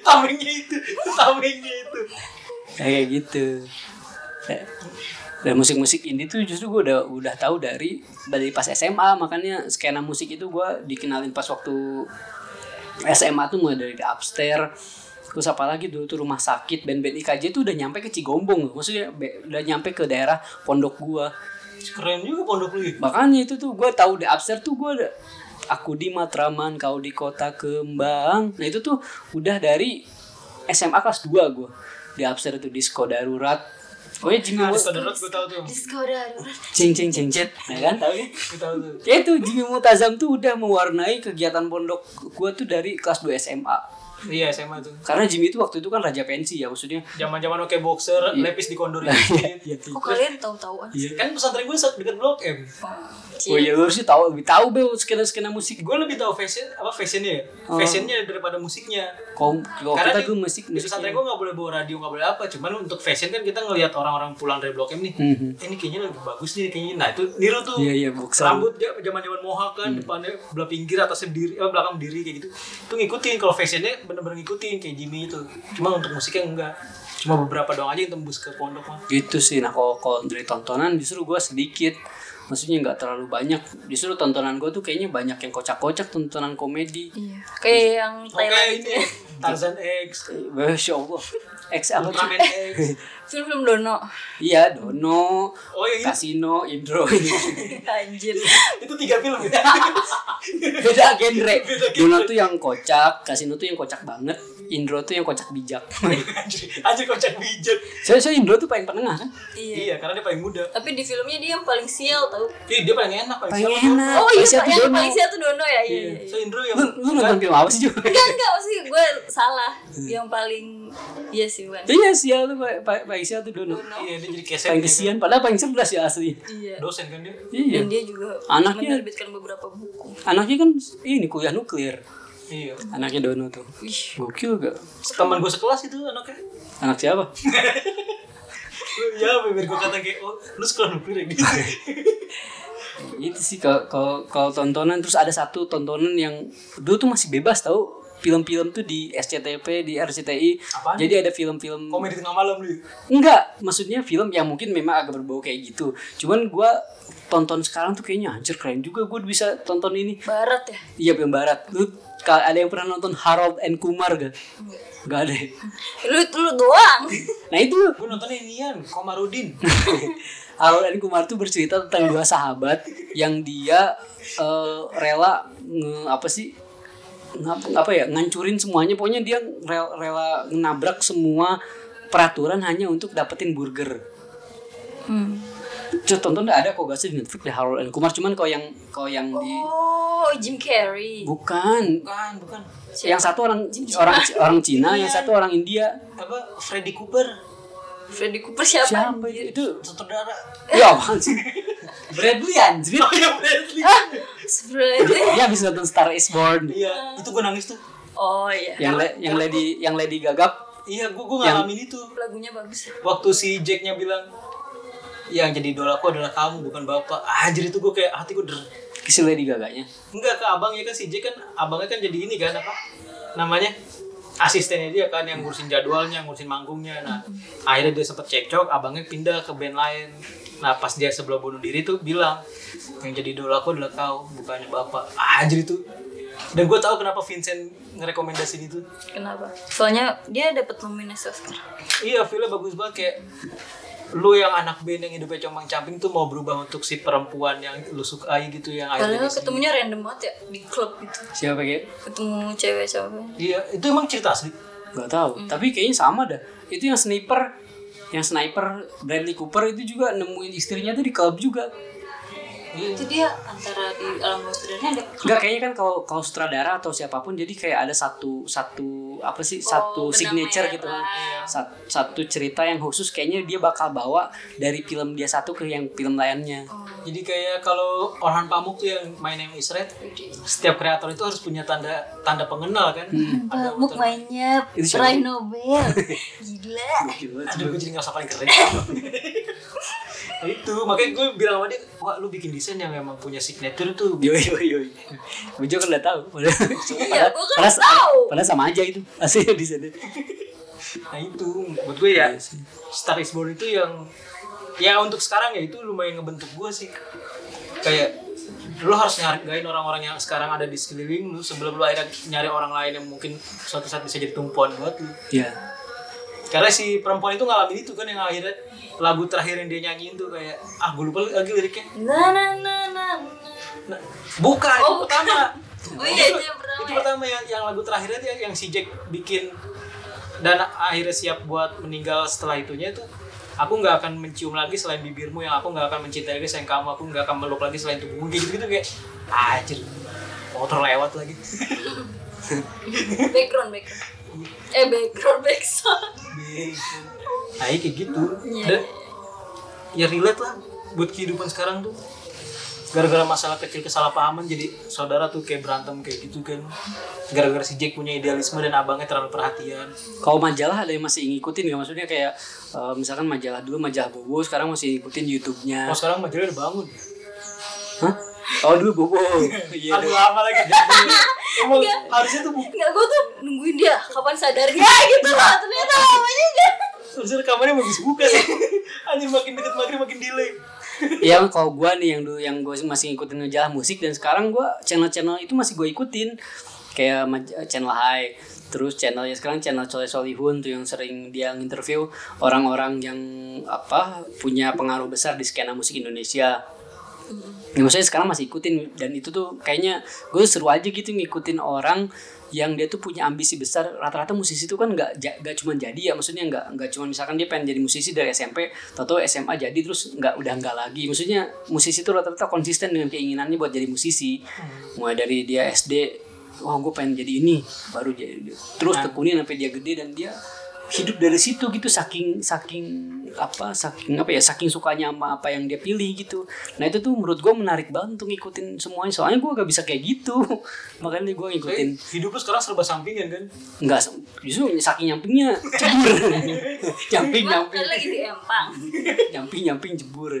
tamengnya itu, tamengnya itu.
kayak gitu Ya. dan musik-musik ini tuh justru gue udah udah tahu dari dari pas SMA makanya skena musik itu gue dikenalin pas waktu SMA tuh mulai dari The Upstairs terus apa lagi dulu tuh rumah sakit band-band IKJ tuh udah nyampe ke Cigombong maksudnya be- udah nyampe ke daerah pondok gua
Keren juga pondok lu ya.
makanya itu tuh gua tahu The Upstairs tuh gua ada aku di Matraman kau di kota Kembang nah itu tuh udah dari SMA kelas 2 gua The Upstairs tuh disco darurat Oh ya Jimmy Wol-
Nah, Disko Darurat gue tau tuh.
Disco darurat.
ceng ceng ceng ceng ya kan
Tau ya? Gue tau tuh.
ya itu Jimmy Mutazam tuh udah mewarnai kegiatan pondok gua tuh dari kelas 2 SMA
Iya SMA tuh.
karena Jimmy itu waktu itu kan raja pensi ya maksudnya
Zaman-zaman oke boxer,
Iya.
lepis di kondor
Nah,
gitu.
Kok kalian tahu-tahuan?
Kan pesantren gue deket Blok M.
Oh iya lu sih tahu lebih tahu bel skena skena musik
Gue lebih tahu fashion apa fashionnya ya?
Oh.
Fashionnya daripada musiknya.
kom kalau kita
Karena
gue
di-
musik
Di pesantren gue nggak boleh bawa radio, nggak boleh apa. Cuman untuk fashion kan kita ngelihat orang-orang pulang dari Blok M nih.
Mhm.
Eh, Ini kayaknya lebih bagus nih kayaknya. Nah itu niru tuh.
iya iya boxer Mhm.
Rambut ja- zaman-zaman mohawk kan depannya belah pinggir atasnya berdiri, eh, belakang berdiri kayak gitu. Itu ngikutin kalau fashionnya bener-bener ngikutin kayak Jimmy itu. Cuma untuk musiknya enggak. Cuma beberapa doang aja yang tembus ke pondok mah.
gitu sih nah kalau, kalau dari tontonan justru gue sedikit maksudnya nggak terlalu banyak justru tontonan gue tuh kayaknya banyak yang kocak-kocak tontonan komedi
Iya. Kayak yang gitu.
Oke
Thailand
ini Tarzan X,
Masya Allah X apa tuh?
Ultraman X.
Film-film Dono.
Iya Dono
Oh yang itu,
Kasino Indro
Anjir.
itu tiga film ya.
Beda genre Dono tuh yang kocak Kasino tuh yang kocak banget Indro tuh yang kocak bijak
Anjir, anjir kocak bijak.
Saya saya Indro tuh paling penengah kan
Iya.
Iya, karena dia paling muda.
Tapi di filmnya dia yang paling sial tau.
Ih, dia paling enak, paling
Paling
selalu.
enak.
Oh
Paling
iya,
sial tuh
yang
Ah, Dono.
paling sial tuh Dono ya. Iya.
Iya.
iya,
So
iya.
Indro yang
Lu, lu nonton film apa sih juga?
Enggak enggak maksudnya gue salah. Yang paling iya sih bukan.
Iya sial tuh Pak- Pak- paling sial tuh Dono
Dono.
Iya, dia jadi keset.
Paling
dia kan.
kesian padahal paling cerdas ya asli
Iya.
Dosen kan dia.
Iya
Dan dia juga
Anaknya-
menerbitkan beberapa buku.
Anaknya kan ini kuliah nuklir
Iya.
Anaknya Dono tuh
Ih,
Gokil gak?
Teman gue sekelas itu anaknya.
Anak siapa?
Lu- Ya, biar gue kata kayak, oh, lu sekolah nuklir ya gitu.
itu sih kalau- kalau kalau tontonan terus ada satu tontonan yang dulu tuh masih bebas tau film-film tuh di SCTV di RCTI
Apaan?
jadi ada film-film
Komedi tengah malam lu.
enggak maksudnya film yang mungkin memang agak berbau kayak gitu cuman gua tonton sekarang tuh kayaknya anjir keren juga gue bisa tonton ini
barat ya.
iya film barat lu kalau ada yang pernah nonton Harold and Kumar gak? Gak ada. ya?
Lu lu doang.
Nah itu
Gue nontonnya Nian, Komarudin.
Harold and Kumar tuh bercerita tentang dua sahabat yang dia eh, rela nge, apa sih ngap- apa ya ngancurin semuanya pokoknya dia rela, rela nabrak semua peraturan hanya untuk dapetin burger.
Hmm.
Cuy, tonton dah ada kok gak sih di Netflix deh Harold and Kumar cuman kalau yang kalau yang di
Oh, Jim Carrey.
bukan
Bukan, bukan.
yang satu orang orang orang Cina,
Iya.
yang satu orang India.
Apa, Freddy Cooper.
Freddy Cooper siapa?
Siapa itu? itu?
Sutradara.
Ya apaan sih? Bradley anjir.
Oh ya, Bradley.
Ah.
Freddy.
Dia habis nonton Star is Born.
Iya, itu gue nangis tuh.
Oh iya.
yang le- yang lady yang lady gagap
Iya, gue gue ngalamin itu.
Lagunya bagus. ya.
waktu si Jacknya bilang "Iya, yang jadi idolaku adalah kamu bukan bapak anjir itu gue kayak hati gue der
si lady gaganya
enggak ke abangnya kan si Jack kan abangnya kan jadi ini kan apa namanya asistennya dia kan yang ngurusin jadwalnya ngurusin manggungnya nah akhirnya dia sempet cekcok abangnya pindah ke band lain nah pas dia sebelum bunuh diri tuh bilang yang jadi idolaku adalah kau bukannya bapak anjir itu dan gue tahu kenapa Vincent ngerekomendasiin itu
Kenapa? Soalnya dia dapat nominasi Oscar.
Iya, filmnya bagus banget kayak lu yang anak band yang hidupnya comang camping tuh mau berubah untuk si perempuan yang lu sukai gitu yang akhirnya di
Padahal
sini.
ketemunya random banget ya di klub gitu.
siapa kayak
Ketemu cewek cewek.
Iya, itu emang cerita asli.
nggak tahu
Hmm.
tapi kayaknya sama dah itu yang sniper yang sniper Bradley Cooper itu juga nemuin istrinya tuh di klub juga
Iya.
Itu dia antara di alam bawah sadarnya ada
nggak kayaknya kan kalau kalau sutradara atau siapapun jadi kayak ada satu satu apa sih satu
Oh, benang
signature
merah. iya.
gitu kan Sat- satu cerita yang khusus kayaknya dia bakal bawa dari film dia satu ke yang film lainnya
Oh.
Jadi kayak kalau Orhan Pamuk tuh yang main yang Israel, setiap kreator itu harus punya tanda tanda pengenal kan. Ada
Buk mainnya
Itu siapa?
peraih Nobel Gila
Aduh, gue jadi ngerasa paling keren. itu makanya gue bilang sama dia, wah lu bikin desain yang emang punya signature tuh.
Yoi yoi yoi. Bujo kan udah tahu. Padahal,
Iya, gua kan
padahal-
tahu.
padahal sama aja itu. Aslinya di sana.
Nah itu buat gue ya Star is Born itu yang ya untuk sekarang ya itu lumayan ngebentuk gue sih kayak lu harus ngargain orang-orang yang sekarang ada di sekeliling lu sebelum lu akhirnya nyari orang lain yang mungkin suatu saat bisa jadi tumpuan buat lu
Iya.
karena si perempuan itu ngalamin itu kan yang akhirnya lagu terakhir yang dia nyanyiin tuh kayak ah gue lupa lagi liriknya
Na na na na. na.
Nah, bukan itu
Oh, bukan.
pertama
Oh iya itu yang
itu
pertama. ya?
pertama yang, yang lagu terakhirnya tuh yang, yang si Jack bikin dan akhirnya siap buat meninggal setelah itunya itu aku nggak akan mencium lagi selain bibirmu yang aku nggak akan mencintai lagi selain kamu aku nggak akan meluk lagi selain tubuhmu gitu gitu kayak anjir motor lewat lagi
Background background. Eh background background.
nah iya kayak gitu
Iya,
dan ya
iya,
relate lah buat kehidupan sekarang tuh gara-gara masalah kecil kesalahpahaman jadi saudara tuh kayak berantem kayak gitu kan gara-gara si Jack punya idealisme dan abangnya terlalu perhatian
Kalau majalah ada yang masih ngikutin nggak maksudnya kayak eh, misalkan majalah dulu majalah Bobo sekarang masih ngikutin YouTube-nya.
Kalau Oh, sekarang majalah udah bangun.
Hah? Oh dulu Bobo. Iya.
Aduh lama lagi. Emang harusnya tuh bu-
Enggak, gue tuh nungguin dia kapan sadarnya gitu lah. Ternyata lamanya enggak.
harusnya rekamannya bagus buka sih. Anjir makin deket maghrib makin delay.
Iya kalau gua nih yang dulu yang gue masih ngikutin majalah musik dan sekarang gua channel-channel itu masih gue ikutin kayak maj- eh, channel High terus channelnya sekarang channel Choi Solihun tuh yang sering dia interview orang-orang yang apa punya pengaruh besar di skena musik Indonesia. Ya, maksudnya sekarang masih ikutin dan itu tuh kayaknya gue seru aja gitu ngikutin orang yang dia tuh punya ambisi besar rata-rata musisi itu kan nggak ja- nggak cuma jadi ya maksudnya nggak nggak cuma misalkan dia pengen jadi musisi dari SMP atau SMA jadi terus nggak udah nggak lagi maksudnya musisi itu rata-rata konsisten dengan keinginannya buat jadi musisi mulai dari dia SD wah gue pengen jadi ini baru jadi terus tekuni sampai dia gede dan dia hidup dari situ gitu saking saking apa saking apa ya saking sukanya sama apa yang dia pilih gitu nah itu tuh menurut gue menarik banget untuk ngikutin semuanya soalnya gue gak bisa kayak gitu makanya gue ngikutin
Kayak hidup lu sekarang serba sampingan kan.
nggak se- justru saking nyampingnya jebur nyamping
Gue
nyamping
kan lagi di empang.
nyamping nyamping jebur ya.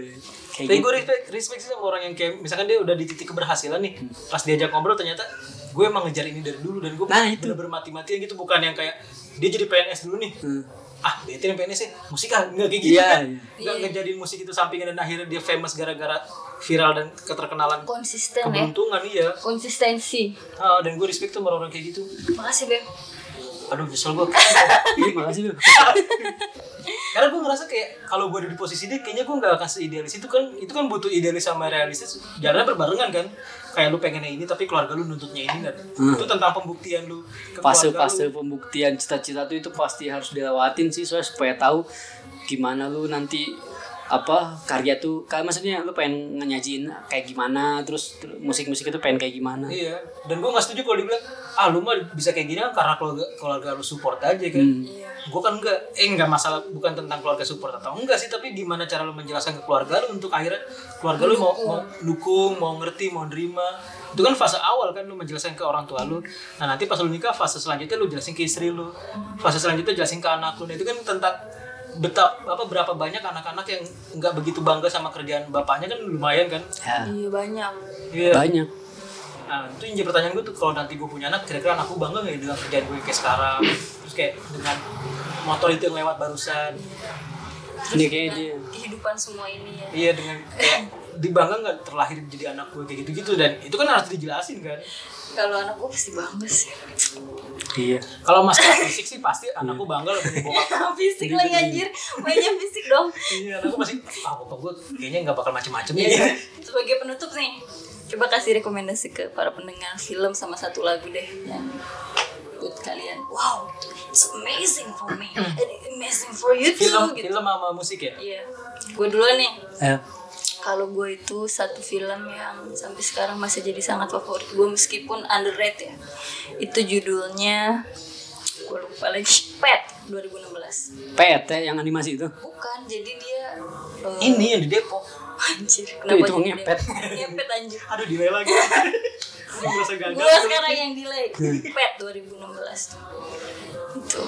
kayak
Tapi
gitu
gue respect, respect sih sama orang yang kayak misalkan dia udah di titik keberhasilan nih. Pas diajak ngobrol ternyata gue emang ngejar ini dari dulu dan gue
Nah, itu.
bermati-matian gitu bukan yang kayak dia jadi PNS dulu nih.
Hmm.
Ah, bete yang PNS sih. Musik ah, enggak kayak gitu
Iya,
kan.
iya.
Enggak ngejadiin musik itu sampingan dan akhirnya dia famous gara-gara viral dan keterkenalan
Konsisten ya.
keberuntungan iya.
Konsistensi.
Ah, dan gue respect tuh sama orang kayak gitu.
Makasih Beb.
Aduh, nyesel gue.
Iya, makasih lu
Karena gue ngerasa kayak kalau gue ada di posisi dia, kayaknya gue nggak akan seidealis itu kan. Itu kan butuh idealis sama realistis. Jalannya berbarengan kan. Kayak lu pengennya ini, tapi keluarga lu nuntutnya ini kan. Itu tentang pembuktian lu. ke
Hmm. fase
keluarga lu.
fase pembuktian cita-cita tuh itu pasti harus dilewatin sih soalnya supaya tahu gimana lu nanti apa karya tuh kan maksudnya lu pengen nyajiin kayak gimana terus ter- musik-musik itu pengen kayak gimana
Iya. Dan gue nggak setuju kalau dibilang, ah lu mah bisa kayak gini kan karena keluarga, keluarga lu support aja kan. Gue kan enggak, eh enggak masalah bukan tentang keluarga support atau enggak sih, tapi gimana cara lu menjelaskan ke keluarga lu untuk akhirnya keluarga lu mau, mau dukung, mau ngerti, mau nerima. Itu kan fase awal kan lu menjelaskan ke orang tua lu. Nah nanti pas lu nikah fase selanjutnya lu jelasin ke istri lu, fase selanjutnya jelasin ke anak lu. Nah, itu kan tentang betap apa berapa banyak anak-anak yang nggak begitu bangga sama kerjaan bapaknya kan lumayan kan
Ya,
Iya banyak.
iya
banyak
Nah, itu yang jadi pertanyaan gue tuh kalau nanti gue punya anak, kira-kira anakku bangga nggak ya dengan kerjaan gue kayak sekarang? Terus kayak dengan motor itu yang lewat barusan,
ini kayak dia
Kehidupan semua ini ya.
iya dengan kayak dibangga nggak terlahir jadi anak gue kayak gitu-gitu dan itu kan harus dijelasin kan?
Kalau anak gue pasti bangga sih.
iya
Kalau masalah fisik sih pasti
Iya.
anakku bangga loh punya bokap.
fisik lagi anjir. Mainnya fisik dong.
Iya, anakku pasti ah bokap gue kayaknya nggak bakal macem-macem ya.
Iya. Sebagai penutup nih, coba kasih rekomendasi ke para pendengar film sama satu lagu deh yang buat kalian. Wow, it's amazing for me and amazing for you too
Film,
gitu.
film sama musik ya.
Iya. Gue duluan nih.
Eh,
Kalau gue itu satu film yang sampai sekarang masih jadi sangat favorit gue meskipun underrated ya. Itu judulnya gue lupa lagi. Pet 2016.
PT E yang animasi itu
Bukan, jadi dia eh,
Ini yang di Depok.
anjir.
itu
jadi
ngepet.
dia- Ngepet anjir.
Aduh, delay lagi. Gue merasa gagal.
Gue sekarang yang delay Pet 2016 tuh. Itu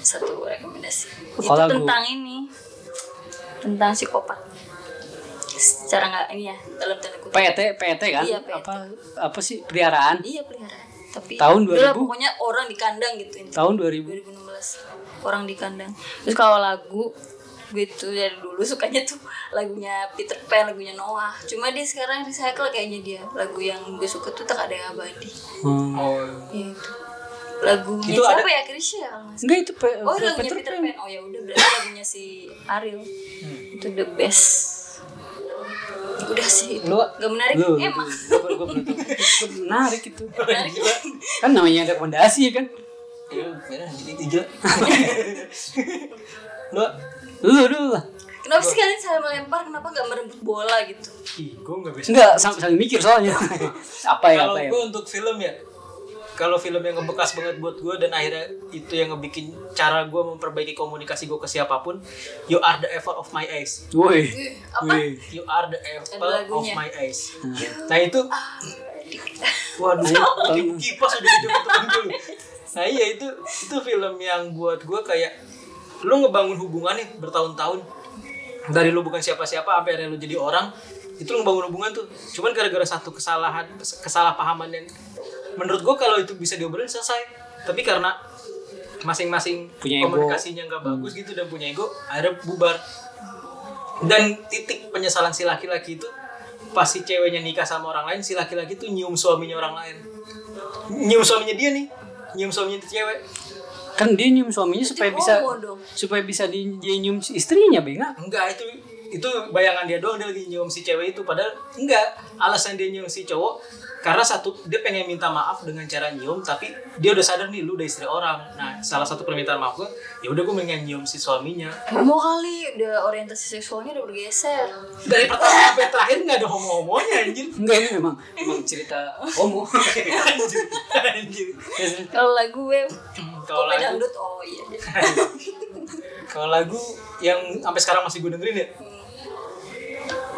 satu rekomendasi Itu
Kalau gua-
tentang ini Tentang psikopat Secara nggak ini ya Dalam tanda kutip
PT PT kan
Iya, PT.
apa apa sih peliharaan
Iya peliharaan Tapi
Tahun
udah lah,
2000?
Pokoknya orang di kandang gitu intinya.
tahun 2000
2016 Orang di kandang Terus kalau lagu gue tuh dari dulu sukanya tuh lagunya Peter Pan lagunya Noah cuma dia sekarang recycle kayaknya dia lagu yang gue suka tuh tak ada yang abadi
Oh.
ya itu lagunya
Itu
siapa ya Krisya kalau nggak salah.
Enggak itu E Pe-
oh
Pe-
lagunya Peter Pan oh ya udah berarti lagunya si Ariel
Hmm.
itu the best udah sih itu
Lu
gak menarik
Lu,
emang
itu. Gua- gua belum tahu. Itu menarik itu.
menarik
Kan namanya rekomendasi ya kan.
Iya, merah jadi tiga. Lu,
Lu dulu lah.
kenapa sih kalian saling melempar kenapa gak merebut bola gitu
ih, gue nggak bisa.
Enggak sam- sambil mikir soalnya. apa ya
Kalau
apa ya.
gue untuk film ya, kalau film yang ngebekas banget buat gue dan akhirnya itu yang ngebikin cara gue memperbaiki komunikasi gue ke siapapun, you are the apple of my eyes.
Woi.
Ih, apa?
Woi.
You are the apple
Ada
of
lagunya.
my eyes. Nah itu, waduh,
Tahu.
kipas udah hidup dulu. Nah iya itu itu film yang buat gue kayak lu ngebangun hubungan nih bertahun-tahun dari lu bukan siapa-siapa sampai akhirnya lu jadi orang itu lu ngebangun hubungan tuh cuman gara-gara satu kesalahan kesalahpahaman yang menurut gue kalau itu bisa diobrolin selesai tapi karena masing-masing
Punya ego. Hmm.
komunikasinya nggak bagus gitu dan punya ego akhirnya bubar dan titik penyesalan si laki-laki itu pas si ceweknya nikah sama orang lain si laki-laki tuh nyium suaminya orang lain nyium suaminya dia nih nyium suaminya itu cewek
Kan dia nyium suaminya supaya
Itu
bisa
homo dong.
supaya bisa di, dia nyium si istrinya, Benga.
enggak itu itu bayangan dia doang dia lagi nyium si cewek itu padahal enggak alasan dia nyium si cowok karena satu dia pengen minta maaf dengan cara nyium tapi dia udah sadar nih lu udah istri orang nah salah satu permintaan maaf gue ya udah gue pengen nyium si suaminya
Homo kali, udah orientasi seksualnya udah bergeser.
dari pertama sampai terakhir nggak ada homo homonya anjir
Enggak ini memang memang cerita homo.
anjir anjir
Kalau lagu gue,
kalau
kopi
lagu
dangdut, oh iya.
kalau lagu yang sampai sekarang masih gue dengerin ya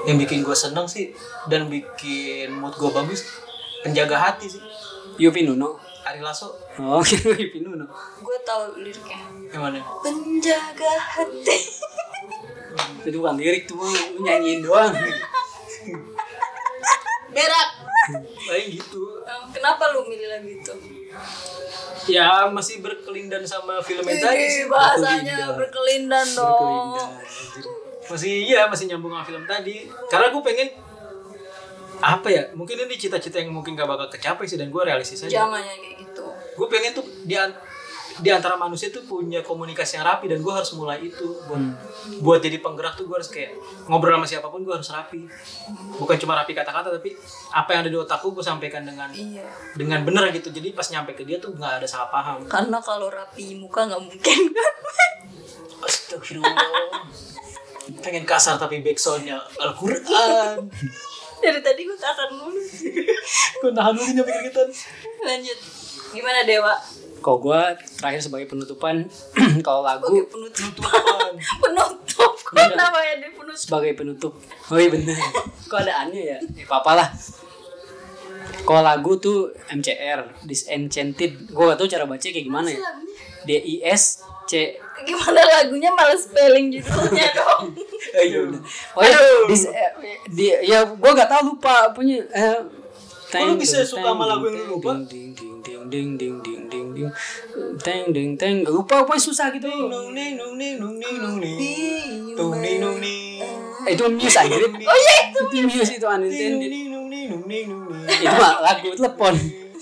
yang bikin gue seneng sih dan bikin mood gue bagus penjaga hati sih
Yupi Nuno.
Ari Lasso
Oh, Yupi Nuno.
Gue tahu liriknya.
yang mana
Penjaga hati.
Itu bukan lirik tuh, lu nyanyiin doang.
Berak.
paling gitu
Em, Kenapa lu milih lagu itu?
ya masih berkelindan sama film yang tadi sih
Ih, bahasanya berkelindan dong.
gitu. Berkelindan.
masih ya masih nyambung sama film tadi karena gue pengen apa ya mungkin ini cita-cita yang mungkin gak bakal kecapai sih dan gue realistis aja
Jangan ya kayak gitu.
gue pengen tuh di, an- di antara manusia tuh punya komunikasi yang rapi dan gue harus mulai itu buat buat jadi penggerak tuh gue harus kayak ngobrol sama siapapun gue harus rapi bukan cuma rapi kata-kata tapi apa yang ada di otakku gue sampaikan dengan
Iya.
dengan bener gitu jadi pas nyampe ke dia tuh nggak ada salah paham
Karena kalau rapi muka nggak mungkin kan.
Astagfirullah. Pengen kasar tapi backsoundnya Al-Quran.
Dari tadi gue kasar mulu.
Gue nahan dulu nyampe keringetan.
Lanjut. Gimana Dewa?
Kalau gue terakhir sebagai penutupan, kalau lagu
Oke penutup.
Tuhan.
Penutup.
Iya.
Kenapa ya dia penutup?
sebagai penutup. Oh iya bener. Kok ada aneh ya? Ya apa lah. Kalau lagu tuh MCR, Disenchanted. Gue gak tau cara baca kayak gimana ya. D I S C
Gimana lagunya malah spelling judulnya dong.
Eh, iya
Ayo. Oh ya, dis, eh, di- ya gue gak tau lupa punya. Eh,
Kok lu bisa suka sama lagu yang lu lupa?
Ding ding ding ding ding ding ding ding Teng, ding teng lupa pokoknya susah gitu.
Nung ning nung ning nung ning nung ning. Tung ning nung ning.
Eh, itu muse anjir. Oh iya itu. muse itu
Ning nung
unintended.
ning nung ning nung ning nung ning.
itu mah lagu telepon.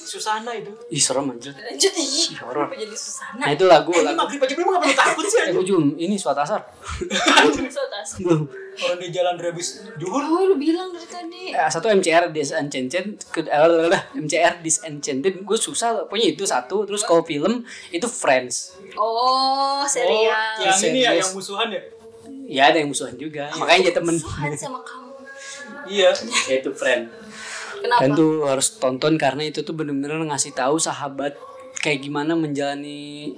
Susana itu.
Ih serem anjir.
Lanjut ih.
horor.
Kenapa jadi Susana?
Nah itu lagu
Ini
lagu.
maghrib aja belum nggak perlu takut sih.
Eh
anjing.
ujung ini suatu asar.
Sotas.
Belum.
Orang di jalan dari habis juhur.
Gue Oh, lu bilang dari tadi.
Eh, satu MCR Disenchanted ke eh, MCR Disenchanted gue susah pokoknya itu satu terus kalau film itu Friends
Oh,
Oh,
serial.
iya.
yang ini ya
Serius.
yang musuhan ya.
Ya ada yang musuhan juga. Makanya jadi temen.
Suhan sama kamu.
Iya.
Ya itu friend.
Kenapa?
Dan Kan tuh harus tonton karena itu tuh bener-bener ngasih tahu sahabat kayak gimana menjalani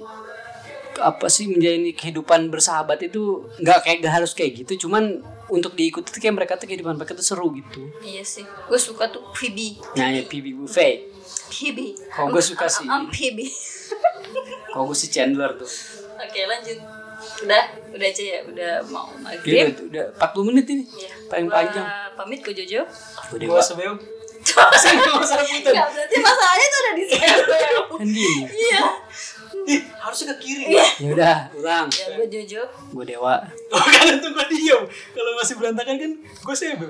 apa sih menjalani kehidupan bersahabat itu nggak kayak nggak harus kayak gitu cuman untuk diikuti tuh kayak mereka tuh kehidupan mereka tuh seru gitu
Iya sih. Gue suka tuh Phoebe.
nah ya Phoebe Buffet
Phoebe.
Kalau gue Oh, suka
Am-
sih.
am- am Phoebe.
kalau gue si Chandler tuh
Oke, lanjut. Udah, udah aja ya. Udah mau
dia
maghrib.
udah, udah 40 menit ini
Ya.
Gitu. paling
Gua
panjang
Pamit ke Jojo.
udah
Gua
dewa
sebeu. Gua sebew.
Ya, Iya. Enggak, berarti masalahnya tuh ada di sana.
kan gini
Iya.
Ih, harusnya ke kiri.
Iya.
ya udah orang
ya gue Jojo
gue dewa
Oh kan untung gue diem Kalau masih berantakan kan gue sebel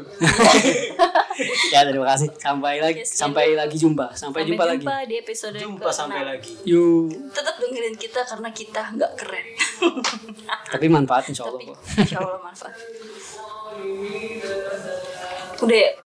ya terima kasih sampai lagi
Yes,
sampai lagi jumpa Iya, sampai, jumpa, lagi
di episode
Jumpa sampai
ke-enam.
lagi
yuk
tetap dengerin kita karena kita nggak keren
tapi manfaat insya Allah
tapi
kok.
insya Allah manfaat udah ya?